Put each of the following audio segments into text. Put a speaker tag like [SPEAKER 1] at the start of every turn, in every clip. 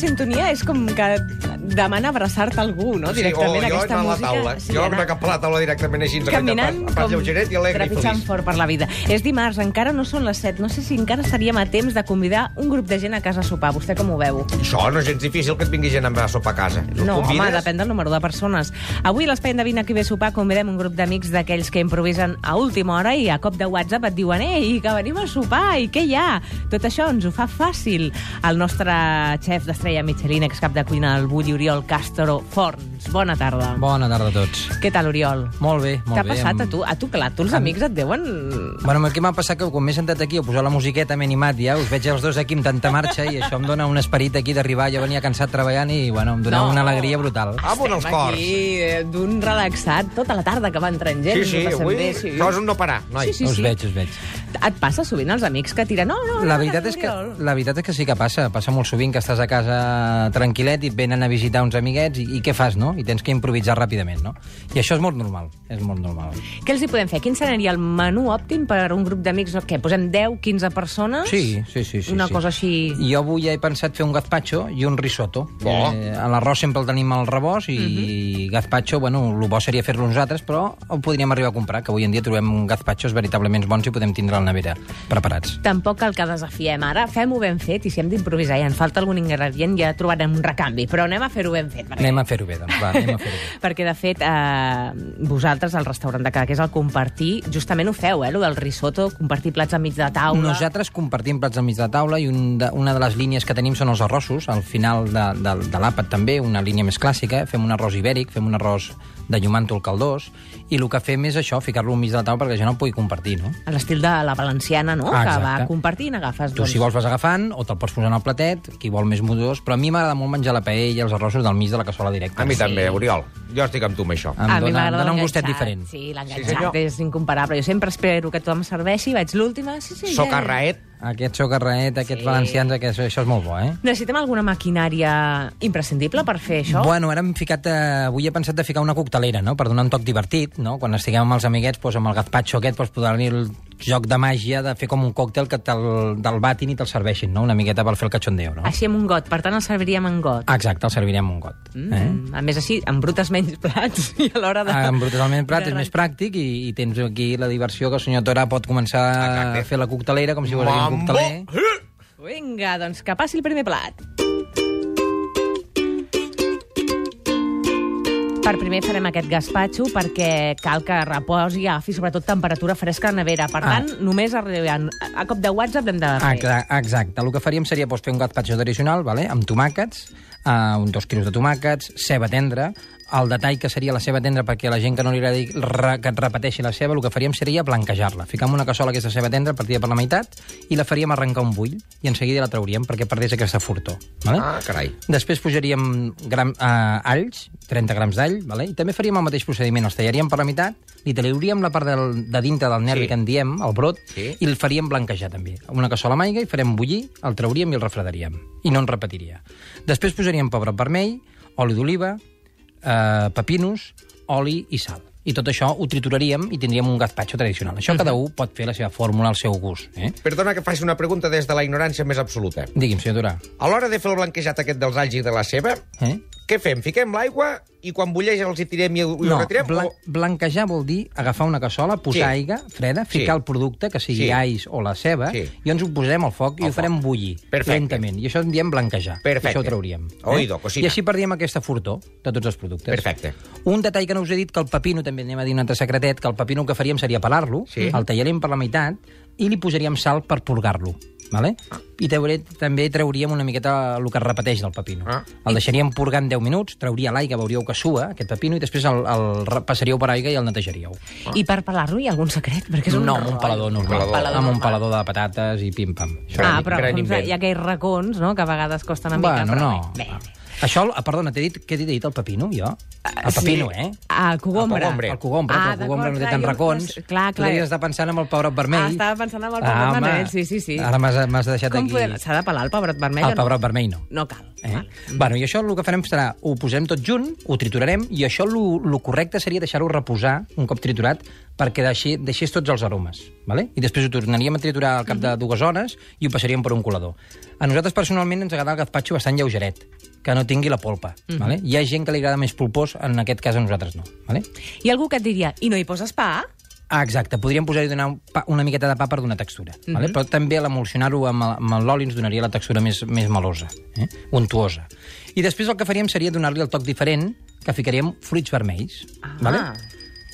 [SPEAKER 1] sintonia és com que demana abraçar-te a algú, no? Directament,
[SPEAKER 2] sí, o jo
[SPEAKER 1] aquesta
[SPEAKER 2] anar a la
[SPEAKER 1] música.
[SPEAKER 2] taula.
[SPEAKER 1] Sí,
[SPEAKER 2] jo
[SPEAKER 1] anar-
[SPEAKER 2] anar... cap a la taula directament així.
[SPEAKER 1] Caminant
[SPEAKER 2] a pas, a pas
[SPEAKER 1] com
[SPEAKER 2] lleugeret i alegre i
[SPEAKER 1] trepitjant
[SPEAKER 2] feliç.
[SPEAKER 1] fort per la vida. És dimarts, encara no són les 7. No sé si encara seríem a temps de convidar un grup de gent a casa a sopar. Vostè com ho veu?
[SPEAKER 2] Això no és gens difícil que et vingui gent amb sopar a casa. Tu
[SPEAKER 1] No,
[SPEAKER 2] convides?
[SPEAKER 1] home, depèn del número de persones. Avui a l'Espai Endevina qui ve a sopar convidem un grup d'amics d'aquells que improvisen a última hora i a cop de WhatsApp et diuen «Ei, que venim a sopar, i què hi ha?» Tot això ens ho fa fàcil el nostre xef d'estrella Michelin, excap de cuina del Bulli, Oriol Castro Forns. Bona tarda.
[SPEAKER 3] Bona tarda a tots.
[SPEAKER 1] Què tal, Oriol?
[SPEAKER 3] Molt bé, molt
[SPEAKER 1] T'ha
[SPEAKER 3] bé.
[SPEAKER 1] passat
[SPEAKER 3] Em-
[SPEAKER 1] a tu? A tu, clar, tu els amics et deuen...
[SPEAKER 3] Bueno, el que m'ha passat que quan m'he sentat aquí a posar la musiqueta m'he animat ja, us veig els dos aquí amb tanta marxa i això em dona un esperit aquí d'arribar, jo venia cansat treballant i bueno, em dona
[SPEAKER 1] No.
[SPEAKER 3] una alegria brutal.
[SPEAKER 2] Amunt els cors.
[SPEAKER 1] Aquí, eh, d'un relaxat, tota la tarda que va entrant gent.
[SPEAKER 2] Sí, sí,
[SPEAKER 1] ho passem
[SPEAKER 2] avui
[SPEAKER 1] bé,
[SPEAKER 2] això és un no parar, noi.
[SPEAKER 1] Sí, sí,
[SPEAKER 3] us
[SPEAKER 1] sí.
[SPEAKER 3] veig, us veig.
[SPEAKER 1] Et passa sovint als amics que tiren... No, no,
[SPEAKER 3] La
[SPEAKER 1] no,
[SPEAKER 3] veritat, és que,
[SPEAKER 1] Oriol".
[SPEAKER 3] la veritat és que sí que passa. Passa molt sovint que estàs a casa tranquil·let i et venen a visitar uns amiguets i, i què fas, no? I tens que improvisar ràpidament, no? I això és molt normal, és molt normal.
[SPEAKER 1] Què els hi podem fer? Quin seria el menú òptim per un grup d'amics? Què, posem 10, 15 persones?
[SPEAKER 3] Sí, sí, sí. sí
[SPEAKER 1] Una
[SPEAKER 3] sí.
[SPEAKER 1] cosa així-
[SPEAKER 3] I Jo avui ja he pensat fer un gazpacho i un risotto.
[SPEAKER 2] Oh.
[SPEAKER 3] Eh, a L'arròs sempre el tenim al rebost i gazpacho, bueno, el bo seria fer-lo nosaltres, però ho podríem arribar a comprar, que avui en dia trobem gazpachos veritablement bons i podem tindre a la nevera preparats.
[SPEAKER 1] Tampoc cal que desafiem ara. Fem-ho ben fet i si hem d'improvisar i ens falta algun ingredient ja trobarem un recanvi. Però anem a fer-ho ben fet. Perquè...
[SPEAKER 3] Anem a fer-ho bé, doncs, va, anem a fer-ho bé.
[SPEAKER 1] Perquè, de fet, eh, vosaltres, al restaurant de Cadaqués, al compartir, justament ho feu, eh, lo del risotto, compartir plats enmig de taula.
[SPEAKER 3] Nosaltres compartim plats al mig de taula i un de, una de les línies que tenim són els arrossos, al final de, de, de l'àpat també, una línia més clàssica, eh? fem un arròs ibèric, fem un arròs de llumàntol caldós, i el que fem és això, ficar-lo al mig de la taula perquè la gent el pugui compartir, no?
[SPEAKER 1] A l'estil de la valenciana, no?
[SPEAKER 3] Ah,
[SPEAKER 1] que
[SPEAKER 3] exacte.
[SPEAKER 1] va compartint, agafes...
[SPEAKER 2] Doncs
[SPEAKER 1] doncs,
[SPEAKER 3] Tu, si vols, vas agafant, o te'l pots posar en el platet, qui vol més modós, però a mi m'agrada molt menjar la paella, els arrossos del mig de la cassola directa.
[SPEAKER 2] A
[SPEAKER 1] Ah,
[SPEAKER 2] mi també, Oriol. Jo estic amb tu amb això.
[SPEAKER 3] Em
[SPEAKER 1] a mi
[SPEAKER 3] dona, em
[SPEAKER 1] m'agrada
[SPEAKER 3] dona un
[SPEAKER 1] l'enganxat.
[SPEAKER 3] gustet diferent.
[SPEAKER 1] Sí,
[SPEAKER 2] Sí,
[SPEAKER 1] l'enganxat
[SPEAKER 2] senyor.
[SPEAKER 1] és incomparable. Jo sempre espero que tothom serveixi, vaig l'última... Sí, sí,
[SPEAKER 2] Soc
[SPEAKER 1] ja.
[SPEAKER 2] arraet.
[SPEAKER 3] Aquest socarraet, aquests
[SPEAKER 1] Sí.
[SPEAKER 3] valencians, aquest, això és molt bo, eh?
[SPEAKER 1] Necessitem alguna maquinària imprescindible per fer això?
[SPEAKER 3] Bueno, ara hem ficat, eh, avui he pensat de ficar una coctelera, no? per donar un toc divertit. No? Quan estiguem amb els amiguets, doncs, amb el gazpacho aquest, doncs, podrà venir el joc de màgia de fer com un còctel que te'l del batin i te'l serveixin, no? una miqueta per fer el cachondeo. No?
[SPEAKER 1] Així amb un got, per tant el serviríem en got.
[SPEAKER 3] Exacte, el servirem amb un got. Mm. Ah, Eh? Ah,
[SPEAKER 1] Mm, A més, així, en brutes menys plats i a l'hora de...
[SPEAKER 3] Amb brutalment prat
[SPEAKER 1] de
[SPEAKER 3] és més pràctic i, i tens aquí la diversió que el senyor Torà pot començar
[SPEAKER 2] Exacte.
[SPEAKER 3] a fer la coctelera com si fos aquí un
[SPEAKER 2] Mambo!
[SPEAKER 3] cocteler.
[SPEAKER 1] Vinga, doncs que passi el primer plat. Per primer farem aquest gazpacho perquè cal que reposi a fi, sobretot temperatura fresca a la nevera. Per
[SPEAKER 3] Ah.
[SPEAKER 1] tant, només arribant a cop de WhatsApp l'hem de fer.
[SPEAKER 3] Exa- Exacte. El que faríem seria doncs, fer un gazpacho tradicional, vale? amb tomàquets, eh, un dos quilos de tomàquets, ceba tendra, el detall que seria la ceba tendra perquè a la gent que no li agradi re, que et repeteixi la ceba, el que faríem seria blanquejar-la. Ficar en una cassola aquesta ceba tendra partida per la meitat i la faríem arrencar un bull i en seguida la trauríem perquè perdés aquesta fortor. Vale?
[SPEAKER 2] Ah, carai.
[SPEAKER 3] Després posaríem gram, eh, alls, 30 grams d'all, vale? i també faríem el mateix procediment. Els tallaríem per la meitat, li trauríem la part del, de dintre del nervi
[SPEAKER 2] Sí.
[SPEAKER 3] sí. que en diem, el brot,
[SPEAKER 2] Sí.
[SPEAKER 3] sí. i el faríem blanquejar també. Una cassola amb aigua i farem bullir, el trauríem i el refredaríem. I no en repetiria. Després posaríem pebrot vermell, oli d'oliva, eh, pepinos, oli i sal. I tot això ho trituraríem i tindríem un gazpacho tradicional. Això cada un pot fer la seva fórmula al seu gust. Eh?
[SPEAKER 2] Perdona que faci una pregunta des de la ignorància més absoluta.
[SPEAKER 3] Digui'm, senyor Durà.
[SPEAKER 2] A l'hora de fer el blanquejat aquest dels alls i de la ceba,
[SPEAKER 3] Eh?
[SPEAKER 2] què fem? Fiquem l'aigua i quan bulleix els hi tirem i ho i ho retirem?
[SPEAKER 3] blan
[SPEAKER 2] O...
[SPEAKER 3] blanquejar vol dir agafar una cassola, posar
[SPEAKER 2] Sí.
[SPEAKER 3] sí. aigua freda,
[SPEAKER 2] Sí.
[SPEAKER 3] ficar el producte, que sigui
[SPEAKER 2] Sí.
[SPEAKER 3] sí. alls o la ceba,
[SPEAKER 2] Sí.
[SPEAKER 3] sí. i ens ho posarem al foc i
[SPEAKER 2] Al
[SPEAKER 3] ho farem
[SPEAKER 2] foc.
[SPEAKER 3] bullir
[SPEAKER 2] Perfecte.
[SPEAKER 3] lentament. I això en diem blanquejar.
[SPEAKER 2] Perfecte.
[SPEAKER 3] I això ho trauríem. eh?
[SPEAKER 2] Oído, cocina.
[SPEAKER 3] I així perdíem aquesta furtor de tots els productes.
[SPEAKER 2] Perfecte.
[SPEAKER 3] Un detall que no us he dit, que el pepino, també anem a dir un altre secretet, que el pepino el que faríem seria pelar-lo,
[SPEAKER 2] Sí.
[SPEAKER 3] sí. el tallaríem per la meitat i li posaríem sal per purgar-lo. Vale? I trauré, també trauríem una miqueta el que es repeteix del pepino.
[SPEAKER 2] Ah.
[SPEAKER 3] El deixaríem purgant 10 minuts, trauria l'aigua, veuríeu que sua, aquest pepino, i després el, el re- passaríeu per aigua i el netejaríeu.
[SPEAKER 1] I per pelar-lo hi ha algun secret? Perquè és un
[SPEAKER 3] no, amb
[SPEAKER 1] rotllo.
[SPEAKER 3] un pelador normal.
[SPEAKER 2] Un pelador
[SPEAKER 3] amb
[SPEAKER 1] normal.
[SPEAKER 3] un pelador de patates i pim-pam. Això
[SPEAKER 1] Ah,
[SPEAKER 2] Gran-
[SPEAKER 1] però
[SPEAKER 2] gran
[SPEAKER 1] com que
[SPEAKER 2] invent.
[SPEAKER 1] hi ha aquells racons, no?, que a vegades costa una mica.
[SPEAKER 3] bueno,
[SPEAKER 1] però
[SPEAKER 3] no.
[SPEAKER 1] Bé, bé.
[SPEAKER 3] Això, ah, perdona, t'he dit, què t'he dit, el pepino, jo? El
[SPEAKER 1] sí.
[SPEAKER 3] pepino, eh?
[SPEAKER 1] Ah, el cogombre.
[SPEAKER 2] El cogombre.
[SPEAKER 3] El cogombre,
[SPEAKER 1] Ah,
[SPEAKER 3] ah, el cogombre
[SPEAKER 1] d'acord,
[SPEAKER 3] no té
[SPEAKER 1] clar,
[SPEAKER 3] tants
[SPEAKER 1] jo-
[SPEAKER 3] racons.
[SPEAKER 1] clar, clar.
[SPEAKER 3] Tu devies estar pensant en el pebrot vermell.
[SPEAKER 1] Ah, estava pensant en el pebrot
[SPEAKER 3] home,
[SPEAKER 1] vermell, sí, sí, sí.
[SPEAKER 3] Ara m'has m'has deixat
[SPEAKER 1] Com
[SPEAKER 3] aquí.
[SPEAKER 1] podem... S'ha de pelar el pebrot vermell
[SPEAKER 3] El
[SPEAKER 1] o no? Ah.
[SPEAKER 3] pebrot vermell no.
[SPEAKER 1] No cal.
[SPEAKER 3] Eh? Bueno, I això el que farem serà, ho posarem tot junt, ho triturarem, i això el correcte seria deixar-ho reposar un cop triturat perquè deixi, deixés tots els aromes. Vale? I després ho tornaríem a triturar al
[SPEAKER 1] Mhm.
[SPEAKER 3] cap de dues hores i ho passaríem per un colador. A nosaltres personalment ens agrada el gazpacho bastant lleugeret, que no tingui la polpa.
[SPEAKER 1] Mhm.
[SPEAKER 3] Vale? Hi ha gent que li agrada més polpós, en aquest cas a nosaltres no. Vale?
[SPEAKER 1] Hi ha algú que et diria, i no hi poses pa?
[SPEAKER 3] Ah, exacte, podríem posar-hi donar un pa- una miqueta de pa per donar textura, mm -hmm.
[SPEAKER 1] Mhm.
[SPEAKER 3] vale? però també a l'emulsionar-ho amb, el- amb l'oli ens donaria la textura més, més melosa, eh? untuosa. I després el que faríem seria donar-li el toc diferent, que ficaríem fruits vermells.
[SPEAKER 1] Ah.
[SPEAKER 3] Vale?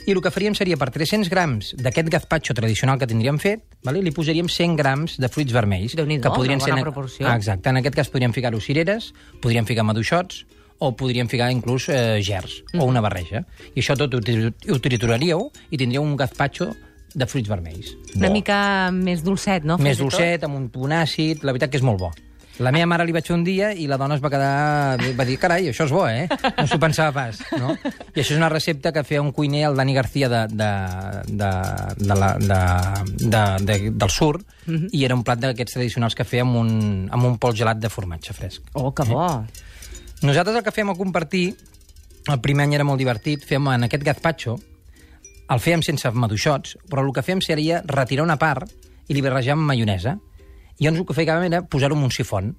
[SPEAKER 3] I el que faríem seria, per 300 grams d'aquest gazpacho tradicional que tindríem fet, vale? li posaríem 100 grams de fruits vermells.
[SPEAKER 1] Déu-n'hi-do,
[SPEAKER 3] que podrien
[SPEAKER 1] una
[SPEAKER 3] ser...
[SPEAKER 1] bona proporció.
[SPEAKER 3] Ah, Exacte, en aquest cas podríem ficar-ho cireres, podríem ficar maduixots, o podríem ficar inclús eh, gers, mm. o una barreja. I això tot ho, tri- ho trituraríeu i tindríeu un gazpacho de fruits vermells.
[SPEAKER 1] Una
[SPEAKER 2] Bo.
[SPEAKER 1] mica més dolcet, no? Fins
[SPEAKER 3] Més
[SPEAKER 1] i tot.
[SPEAKER 3] dolcet, amb un punt àcid, la veritat que és molt bo. La meva mare li vaig fer un dia i la dona es va quedar... Va dir, carai, això és bo, eh? No s'ho pensava pas, no? I això és una recepta que feia un cuiner, el Dani García de, de, de, de, la, de, de, de, del sur,
[SPEAKER 1] Mhm.
[SPEAKER 3] i era un plat d'aquests tradicionals que feia amb un, amb un pol gelat de formatge fresc.
[SPEAKER 1] Oh, que bo.
[SPEAKER 3] Eh? Nosaltres el que fèiem a compartir, el primer any era molt divertit, fèiem en aquest gazpacho, el fèiem sense maduixots, però el que fèiem seria retirar una part i li barrejàvem amb maionesa. I llavors el que fèiem era posar-ho en un sifon.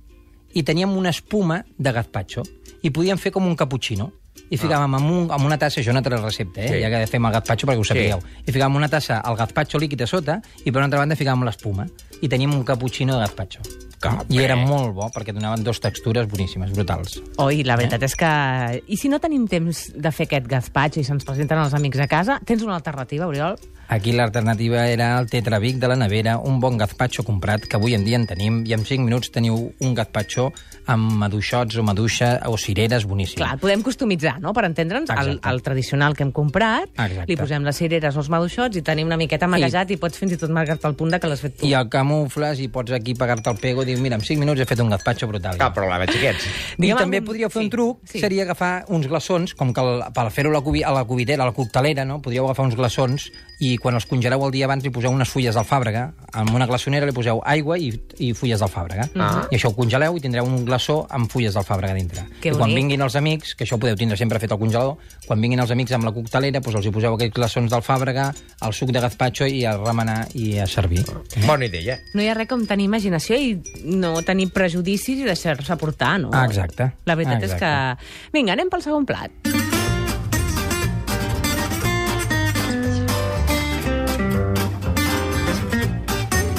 [SPEAKER 3] I teníem una espuma de gazpacho. I podíem fer com un cappuccino. I ficàvem amb, un, amb una tassa, això és una altra recepta, eh?
[SPEAKER 2] Ah. Sí.
[SPEAKER 3] sí. ja que fem el gazpacho perquè ho sapigueu. I ficàvem una tassa el gazpacho líquid a sota i per una altra banda ficàvem l'espuma. I teníem un cappuccino de gazpacho.
[SPEAKER 2] Que
[SPEAKER 3] I era
[SPEAKER 2] bé.
[SPEAKER 3] molt bo perquè donaven dues textures boníssimes, brutals.
[SPEAKER 1] Oi, la
[SPEAKER 3] Eh?
[SPEAKER 1] veritat és que... I si no tenim temps de fer aquest gazpacho i se'ns presenten els amics a casa, tens una alternativa, Oriol?
[SPEAKER 3] Aquí l'alternativa era el tetravic de la nevera, un bon gazpacho comprat, que avui en dia en tenim, i en 5 minuts teniu un gazpacho amb maduixots o maduixa o cireres boníssim.
[SPEAKER 1] Clar, el podem customitzar, no?, per entendre'ns, el,
[SPEAKER 3] Exacte.
[SPEAKER 1] el tradicional que hem comprat,
[SPEAKER 3] Exacte.
[SPEAKER 1] li posem les cireres o els maduixots i tenim una miqueta maquejat i, pots fins i tot marcar-te el punt de que l'has fet tu.
[SPEAKER 3] I el camufles i pots aquí pagar-te el pego i dir, mira, en 5 minuts he fet un gazpacho brutal.
[SPEAKER 2] Cap problema, xiquets.
[SPEAKER 3] I
[SPEAKER 1] Digue'm
[SPEAKER 3] també
[SPEAKER 1] algun-
[SPEAKER 3] podríeu fer
[SPEAKER 1] sí,
[SPEAKER 3] un truc,
[SPEAKER 1] sí.
[SPEAKER 3] sí. seria agafar uns glaçons, com que el, per fer-ho a la, cubi, a la cubitera, a la coctelera, no? podríeu agafar uns glaçons i quan els congeleu el dia abans li poseu unes fulles d'alfàbrega, amb una glaçonera li poseu aigua i, i fulles d'alfàbrega.
[SPEAKER 2] Ah.
[SPEAKER 3] I això ho congeleu i tindreu un glaçó amb fulles d'alfàbrega dintre.
[SPEAKER 1] Que
[SPEAKER 3] I quan
[SPEAKER 1] bonic.
[SPEAKER 3] vinguin els amics, que això ho podeu tindre sempre fet al congelador, quan vinguin els amics amb la coctelera, doncs els hi poseu aquests glaçons d'alfàbrega, el suc de gazpacho i a remenar i a servir.
[SPEAKER 2] Bona idea.
[SPEAKER 1] No hi ha res com tenir imaginació i no tenir prejudicis i deixar-se portar, no?
[SPEAKER 3] Ah, exacte.
[SPEAKER 1] La veritat
[SPEAKER 3] Ah, exacte.
[SPEAKER 1] és que... Vinga, anem pel segon plat.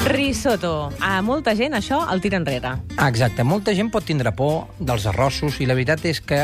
[SPEAKER 1] Risotto. A molta gent això el tira enrere.
[SPEAKER 3] Ah, Exacte, molta gent pot tindre por dels arrossos i la veritat és que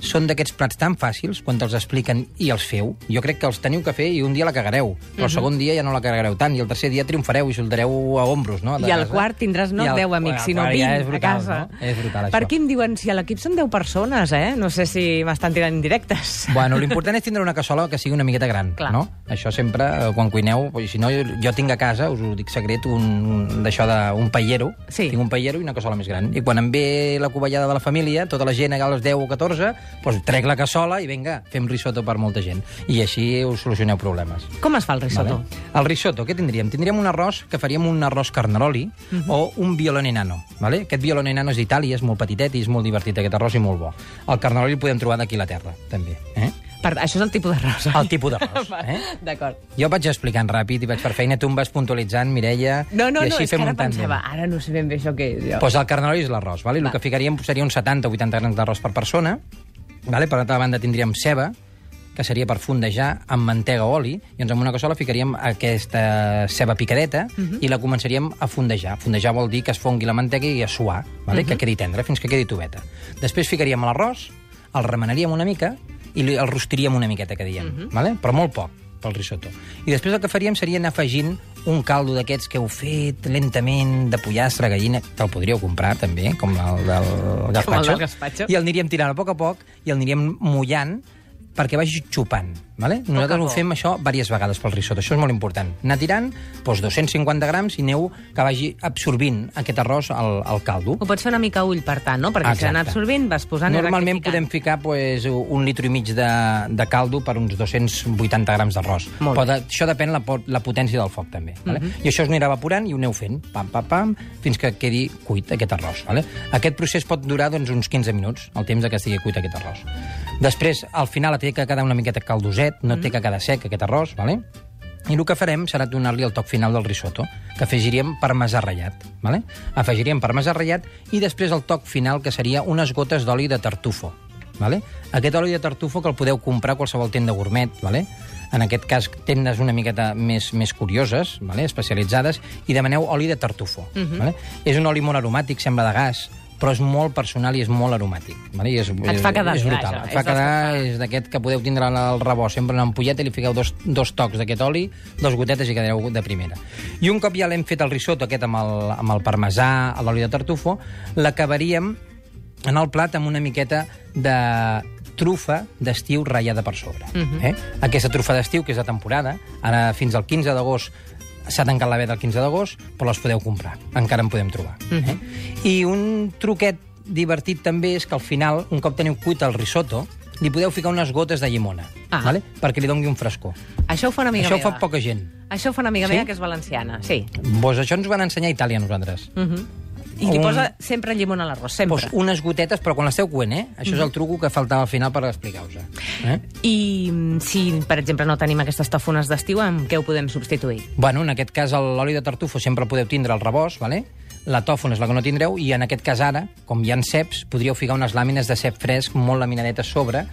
[SPEAKER 3] són d'aquests plats tan fàcils quan te'ls expliquen i els feu. Jo crec que els teniu que fer i un dia la cagareu, però
[SPEAKER 1] Mhm.
[SPEAKER 3] el segon dia ja no la cagareu tant i el tercer dia triomfareu i soltareu a ombros, no? De
[SPEAKER 1] I al
[SPEAKER 3] casa.
[SPEAKER 1] quart tindràs no
[SPEAKER 3] I al-
[SPEAKER 1] 10
[SPEAKER 3] al
[SPEAKER 1] amics, sinó
[SPEAKER 3] quart
[SPEAKER 1] 20
[SPEAKER 3] ja és brutal,
[SPEAKER 1] a casa.
[SPEAKER 3] No? És brutal, això.
[SPEAKER 1] Per aquí em diuen, si a l'equip són 10 persones, eh? No sé si m'estan tirant indirectes.
[SPEAKER 3] Bueno, l'important és tindre una cassola que sigui una miqueta gran,
[SPEAKER 1] Clar.
[SPEAKER 3] no? Això sempre, eh, quan cuineu, doncs, si no, jo, jo tinc a casa, us ho dic secret, un, un d'això d'un paellero.
[SPEAKER 1] Sí.
[SPEAKER 3] Tinc un paellero i una cassola més gran. I quan em ve la covellada de la família, tota la gent a les 10 o 14, doncs trec la cassola i vinga, fem risotto per molta gent. I així us solucioneu problemes.
[SPEAKER 1] Com es fa el risotto?
[SPEAKER 3] Vale. El risotto, què tindríem? Tindríem un arròs que faríem un arròs carneroli
[SPEAKER 1] Mhm.
[SPEAKER 3] o un violone nano. Vale? Aquest violone nano és d'Itàlia, és molt petitet i és molt divertit aquest arròs i molt bo. El carneroli el podem trobar d'aquí a la terra, també. Eh?
[SPEAKER 1] Per, això és el tipus d'arròs, oi?
[SPEAKER 3] El tipus d'arròs.
[SPEAKER 1] Va,
[SPEAKER 3] Eh?
[SPEAKER 1] D'acord.
[SPEAKER 3] Jo vaig explicant ràpid i vaig per feina, tu em vas puntualitzant, Mireia,
[SPEAKER 1] No, no,
[SPEAKER 3] i
[SPEAKER 1] no,
[SPEAKER 3] així
[SPEAKER 1] és que
[SPEAKER 3] fem
[SPEAKER 1] ara
[SPEAKER 3] un tàndem.
[SPEAKER 1] pensava, ara no sé ben bé això què és. Jo.
[SPEAKER 3] Pues el carneroli és l'arròs, vale? el
[SPEAKER 1] Va.
[SPEAKER 3] que ficaríem seria uns 70 o 80 grams d'arròs per persona. Vale? Per altra banda, tindríem ceba, que seria per fondejar amb mantega o oli, i doncs amb una cassola ficaríem aquesta ceba picadeta
[SPEAKER 1] Mhm.
[SPEAKER 3] i la començaríem a fondejar. Fondejar vol dir que es fongui la mantega i a suar, vale?
[SPEAKER 1] Mhm.
[SPEAKER 3] que quedi tendra, fins que quedi toveta. Després ficaríem l'arròs, el remenaríem una mica i li- el rostiríem una miqueta, que diem, vale? però molt poc pel risotto. I després el que faríem seria anar afegint un caldo d'aquests que heu fet lentament, de pollastre, gallina, que el podríeu comprar també, com el del gazpacho.
[SPEAKER 1] gazpacho.
[SPEAKER 3] I el aniríem tirant a poc a poc i el aniríem mullant perquè vagi xupant. Vale? Nosaltres
[SPEAKER 1] poc.
[SPEAKER 3] ho fem això diverses vegades pel risotto, això és molt important. Anar tirant doncs 250 grams i aneu que vagi absorbint aquest arròs al, al caldo.
[SPEAKER 1] Ho pots fer una mica a ull, per tant, no? Perquè si
[SPEAKER 3] Exacte.
[SPEAKER 1] anar absorbint, vas posant
[SPEAKER 3] Normalment
[SPEAKER 1] i
[SPEAKER 3] podem
[SPEAKER 1] rectificant.
[SPEAKER 3] ficar pues, un litro i mig de, de caldo per uns 280 grams d'arròs.
[SPEAKER 1] Molt Mhm.
[SPEAKER 3] Però de, això depèn la, pot- la potència del foc, també. Vale? I això es anirà evaporant i ho aneu fent, pam, pam, pam, fins que quedi cuit aquest arròs. Vale? Aquest procés pot durar doncs, uns 15 minuts, el temps de que estigui cuit aquest arròs. Després, al final, té que quedar una miqueta caldoset, no
[SPEAKER 1] Mhm.
[SPEAKER 3] té que quedar sec aquest arròs, vale? I el que farem serà donar-li el toc final del risotto, que afegiríem parmesà ratllat. Vale? Afegiríem parmesà ratllat i després el toc final, que seria unes gotes d'oli de tartufo. Vale? Aquest oli de tartufo que el podeu comprar a qualsevol tenda gourmet, vale? en aquest cas tendes una miqueta més, més curioses, vale? especialitzades, i demaneu oli de tartufo. Uh
[SPEAKER 1] Mhm.
[SPEAKER 3] -huh. vale? És un oli molt aromàtic, sembla de gas, però és molt personal i és molt aromàtic. Vale? I és,
[SPEAKER 1] Et fa quedar
[SPEAKER 3] és
[SPEAKER 1] bé,
[SPEAKER 3] brutal.
[SPEAKER 1] vaja,
[SPEAKER 3] Et fa
[SPEAKER 1] és dels que
[SPEAKER 3] quedar és d'aquest que podeu tindre al rebost, sempre en una ampolleta i li fiqueu dos, dos tocs d'aquest oli, dos gotetes i quedareu de primera. I un cop ja l'hem fet el risotto aquest amb el, amb el parmesà, a l'oli de tartufo, l'acabaríem en el plat amb una miqueta de trufa d'estiu ratllada per sobre. Uh -huh. eh? Aquesta trufa d'estiu, que és de temporada, ara fins al 15 d'agost s'ha tancat la veda el 15 d'agost, però les podeu comprar. Encara en podem trobar. Uh -huh. eh? I un truquet divertit també és que al final, un cop teniu cuit el risotto, li podeu ficar unes gotes de llimona,
[SPEAKER 1] Ah.
[SPEAKER 3] vale? perquè li doni un frescor.
[SPEAKER 1] Això ho fa una amiga
[SPEAKER 3] Això ho
[SPEAKER 1] meva.
[SPEAKER 3] fa poca gent.
[SPEAKER 1] Això ho fa una amiga
[SPEAKER 3] Sí?
[SPEAKER 1] meva que és valenciana, sí.
[SPEAKER 3] Vos, això ens ho van ensenyar a Itàlia, a nosaltres.
[SPEAKER 1] Uh -huh. I li
[SPEAKER 3] Un-
[SPEAKER 1] posa sempre llimona a l'arròs, sempre.
[SPEAKER 3] Pues unes gotetes, però quan l'esteu coent, eh? Això és el truco que faltava al final per explicar-vos. Eh?
[SPEAKER 1] I mm, si, per exemple, no tenim aquestes tafones d'estiu, amb què ho podem substituir?
[SPEAKER 3] Bueno, en aquest cas el- l'oli de tartufo sempre el podeu tindre al rebost, vale? la tòfona és la que no tindreu, i en aquest cas ara, com hi ha ceps, podríeu ficar unes làmines de cep fresc molt laminadetes sobre,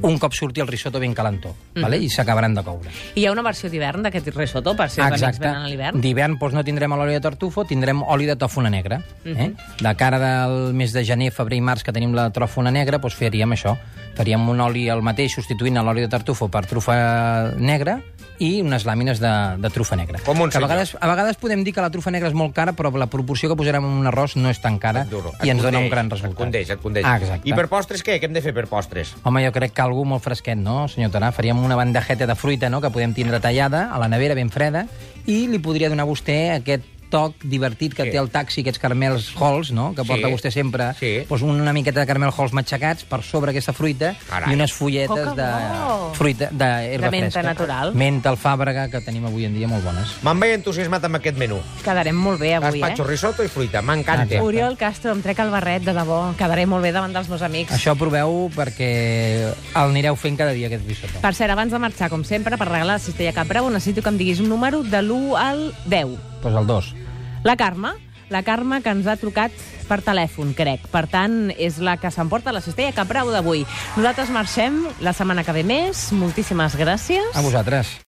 [SPEAKER 3] un cop surti el risotto ben calentó, vale? i s'acabaran de coure.
[SPEAKER 1] I hi ha una versió d'hivern d'aquest risotto, per si els amics venen a l'hivern?
[SPEAKER 3] D'hivern doncs, no tindrem l'oli de tartufo, tindrem oli de tòfona negra. eh? De cara del mes de gener, febrer i març, que tenim la tròfona negra, doncs faríem això. Faríem un oli el mateix, substituint l'oli de tartufo per trufa negra i unes làmines de, de trufa negra.
[SPEAKER 2] Com un
[SPEAKER 3] que a,
[SPEAKER 2] senyor.
[SPEAKER 3] vegades, a vegades podem dir que la trufa negra és molt cara, però la proporció que posarem en un arròs no és tan cara
[SPEAKER 2] Duro. Et
[SPEAKER 3] i ens dona un
[SPEAKER 2] condeix,
[SPEAKER 3] gran resultat.
[SPEAKER 2] Et condeix, et condeix.
[SPEAKER 3] Ah, exacte.
[SPEAKER 2] I per postres què? Què hem de fer per postres?
[SPEAKER 3] Home, jo crec que algú molt fresquet, no, senyor Tarà? Faríem una bandejeta de fruita, no?, que podem tindre tallada, a la nevera ben freda, i li podria donar a vostè aquest toc divertit que
[SPEAKER 2] Sí.
[SPEAKER 3] té el taxi, aquests caramels halls, no?, que
[SPEAKER 2] Sí.
[SPEAKER 3] porta vostè sempre.
[SPEAKER 2] Sí.
[SPEAKER 3] Doncs una miqueta de caramel halls matxacats per sobre aquesta fruita
[SPEAKER 2] Carai.
[SPEAKER 3] i unes folletes
[SPEAKER 1] Coca,
[SPEAKER 3] de
[SPEAKER 1] no.
[SPEAKER 3] fruita,
[SPEAKER 1] De
[SPEAKER 3] d'herba
[SPEAKER 1] menta
[SPEAKER 3] fresca.
[SPEAKER 1] natural.
[SPEAKER 3] Menta, alfàbrega, que tenim avui en dia molt bones.
[SPEAKER 2] Me'n vaig entusiasmat amb aquest menú.
[SPEAKER 1] Quedarem molt bé avui,
[SPEAKER 3] eh?
[SPEAKER 2] Gaspatxo, risotto i fruita. M'encanta.
[SPEAKER 1] eh? Oriol Castro, em trec el barret, de debò. Quedaré molt bé davant dels meus amics.
[SPEAKER 3] Això proveu perquè el anireu fent cada dia, aquest risotto.
[SPEAKER 1] Per cert, abans de marxar, com sempre, per regalar la cistella Cap Bravo, necessito que em diguis un número de l'1 al 10.
[SPEAKER 3] Doncs el dos.
[SPEAKER 1] La Carme, la Carme que ens ha trucat per telèfon, crec. Per tant, és la que s'emporta la cistella Cap Bravo d'avui. Nosaltres marxem la setmana que ve més. Moltíssimes gràcies.
[SPEAKER 3] A vosaltres.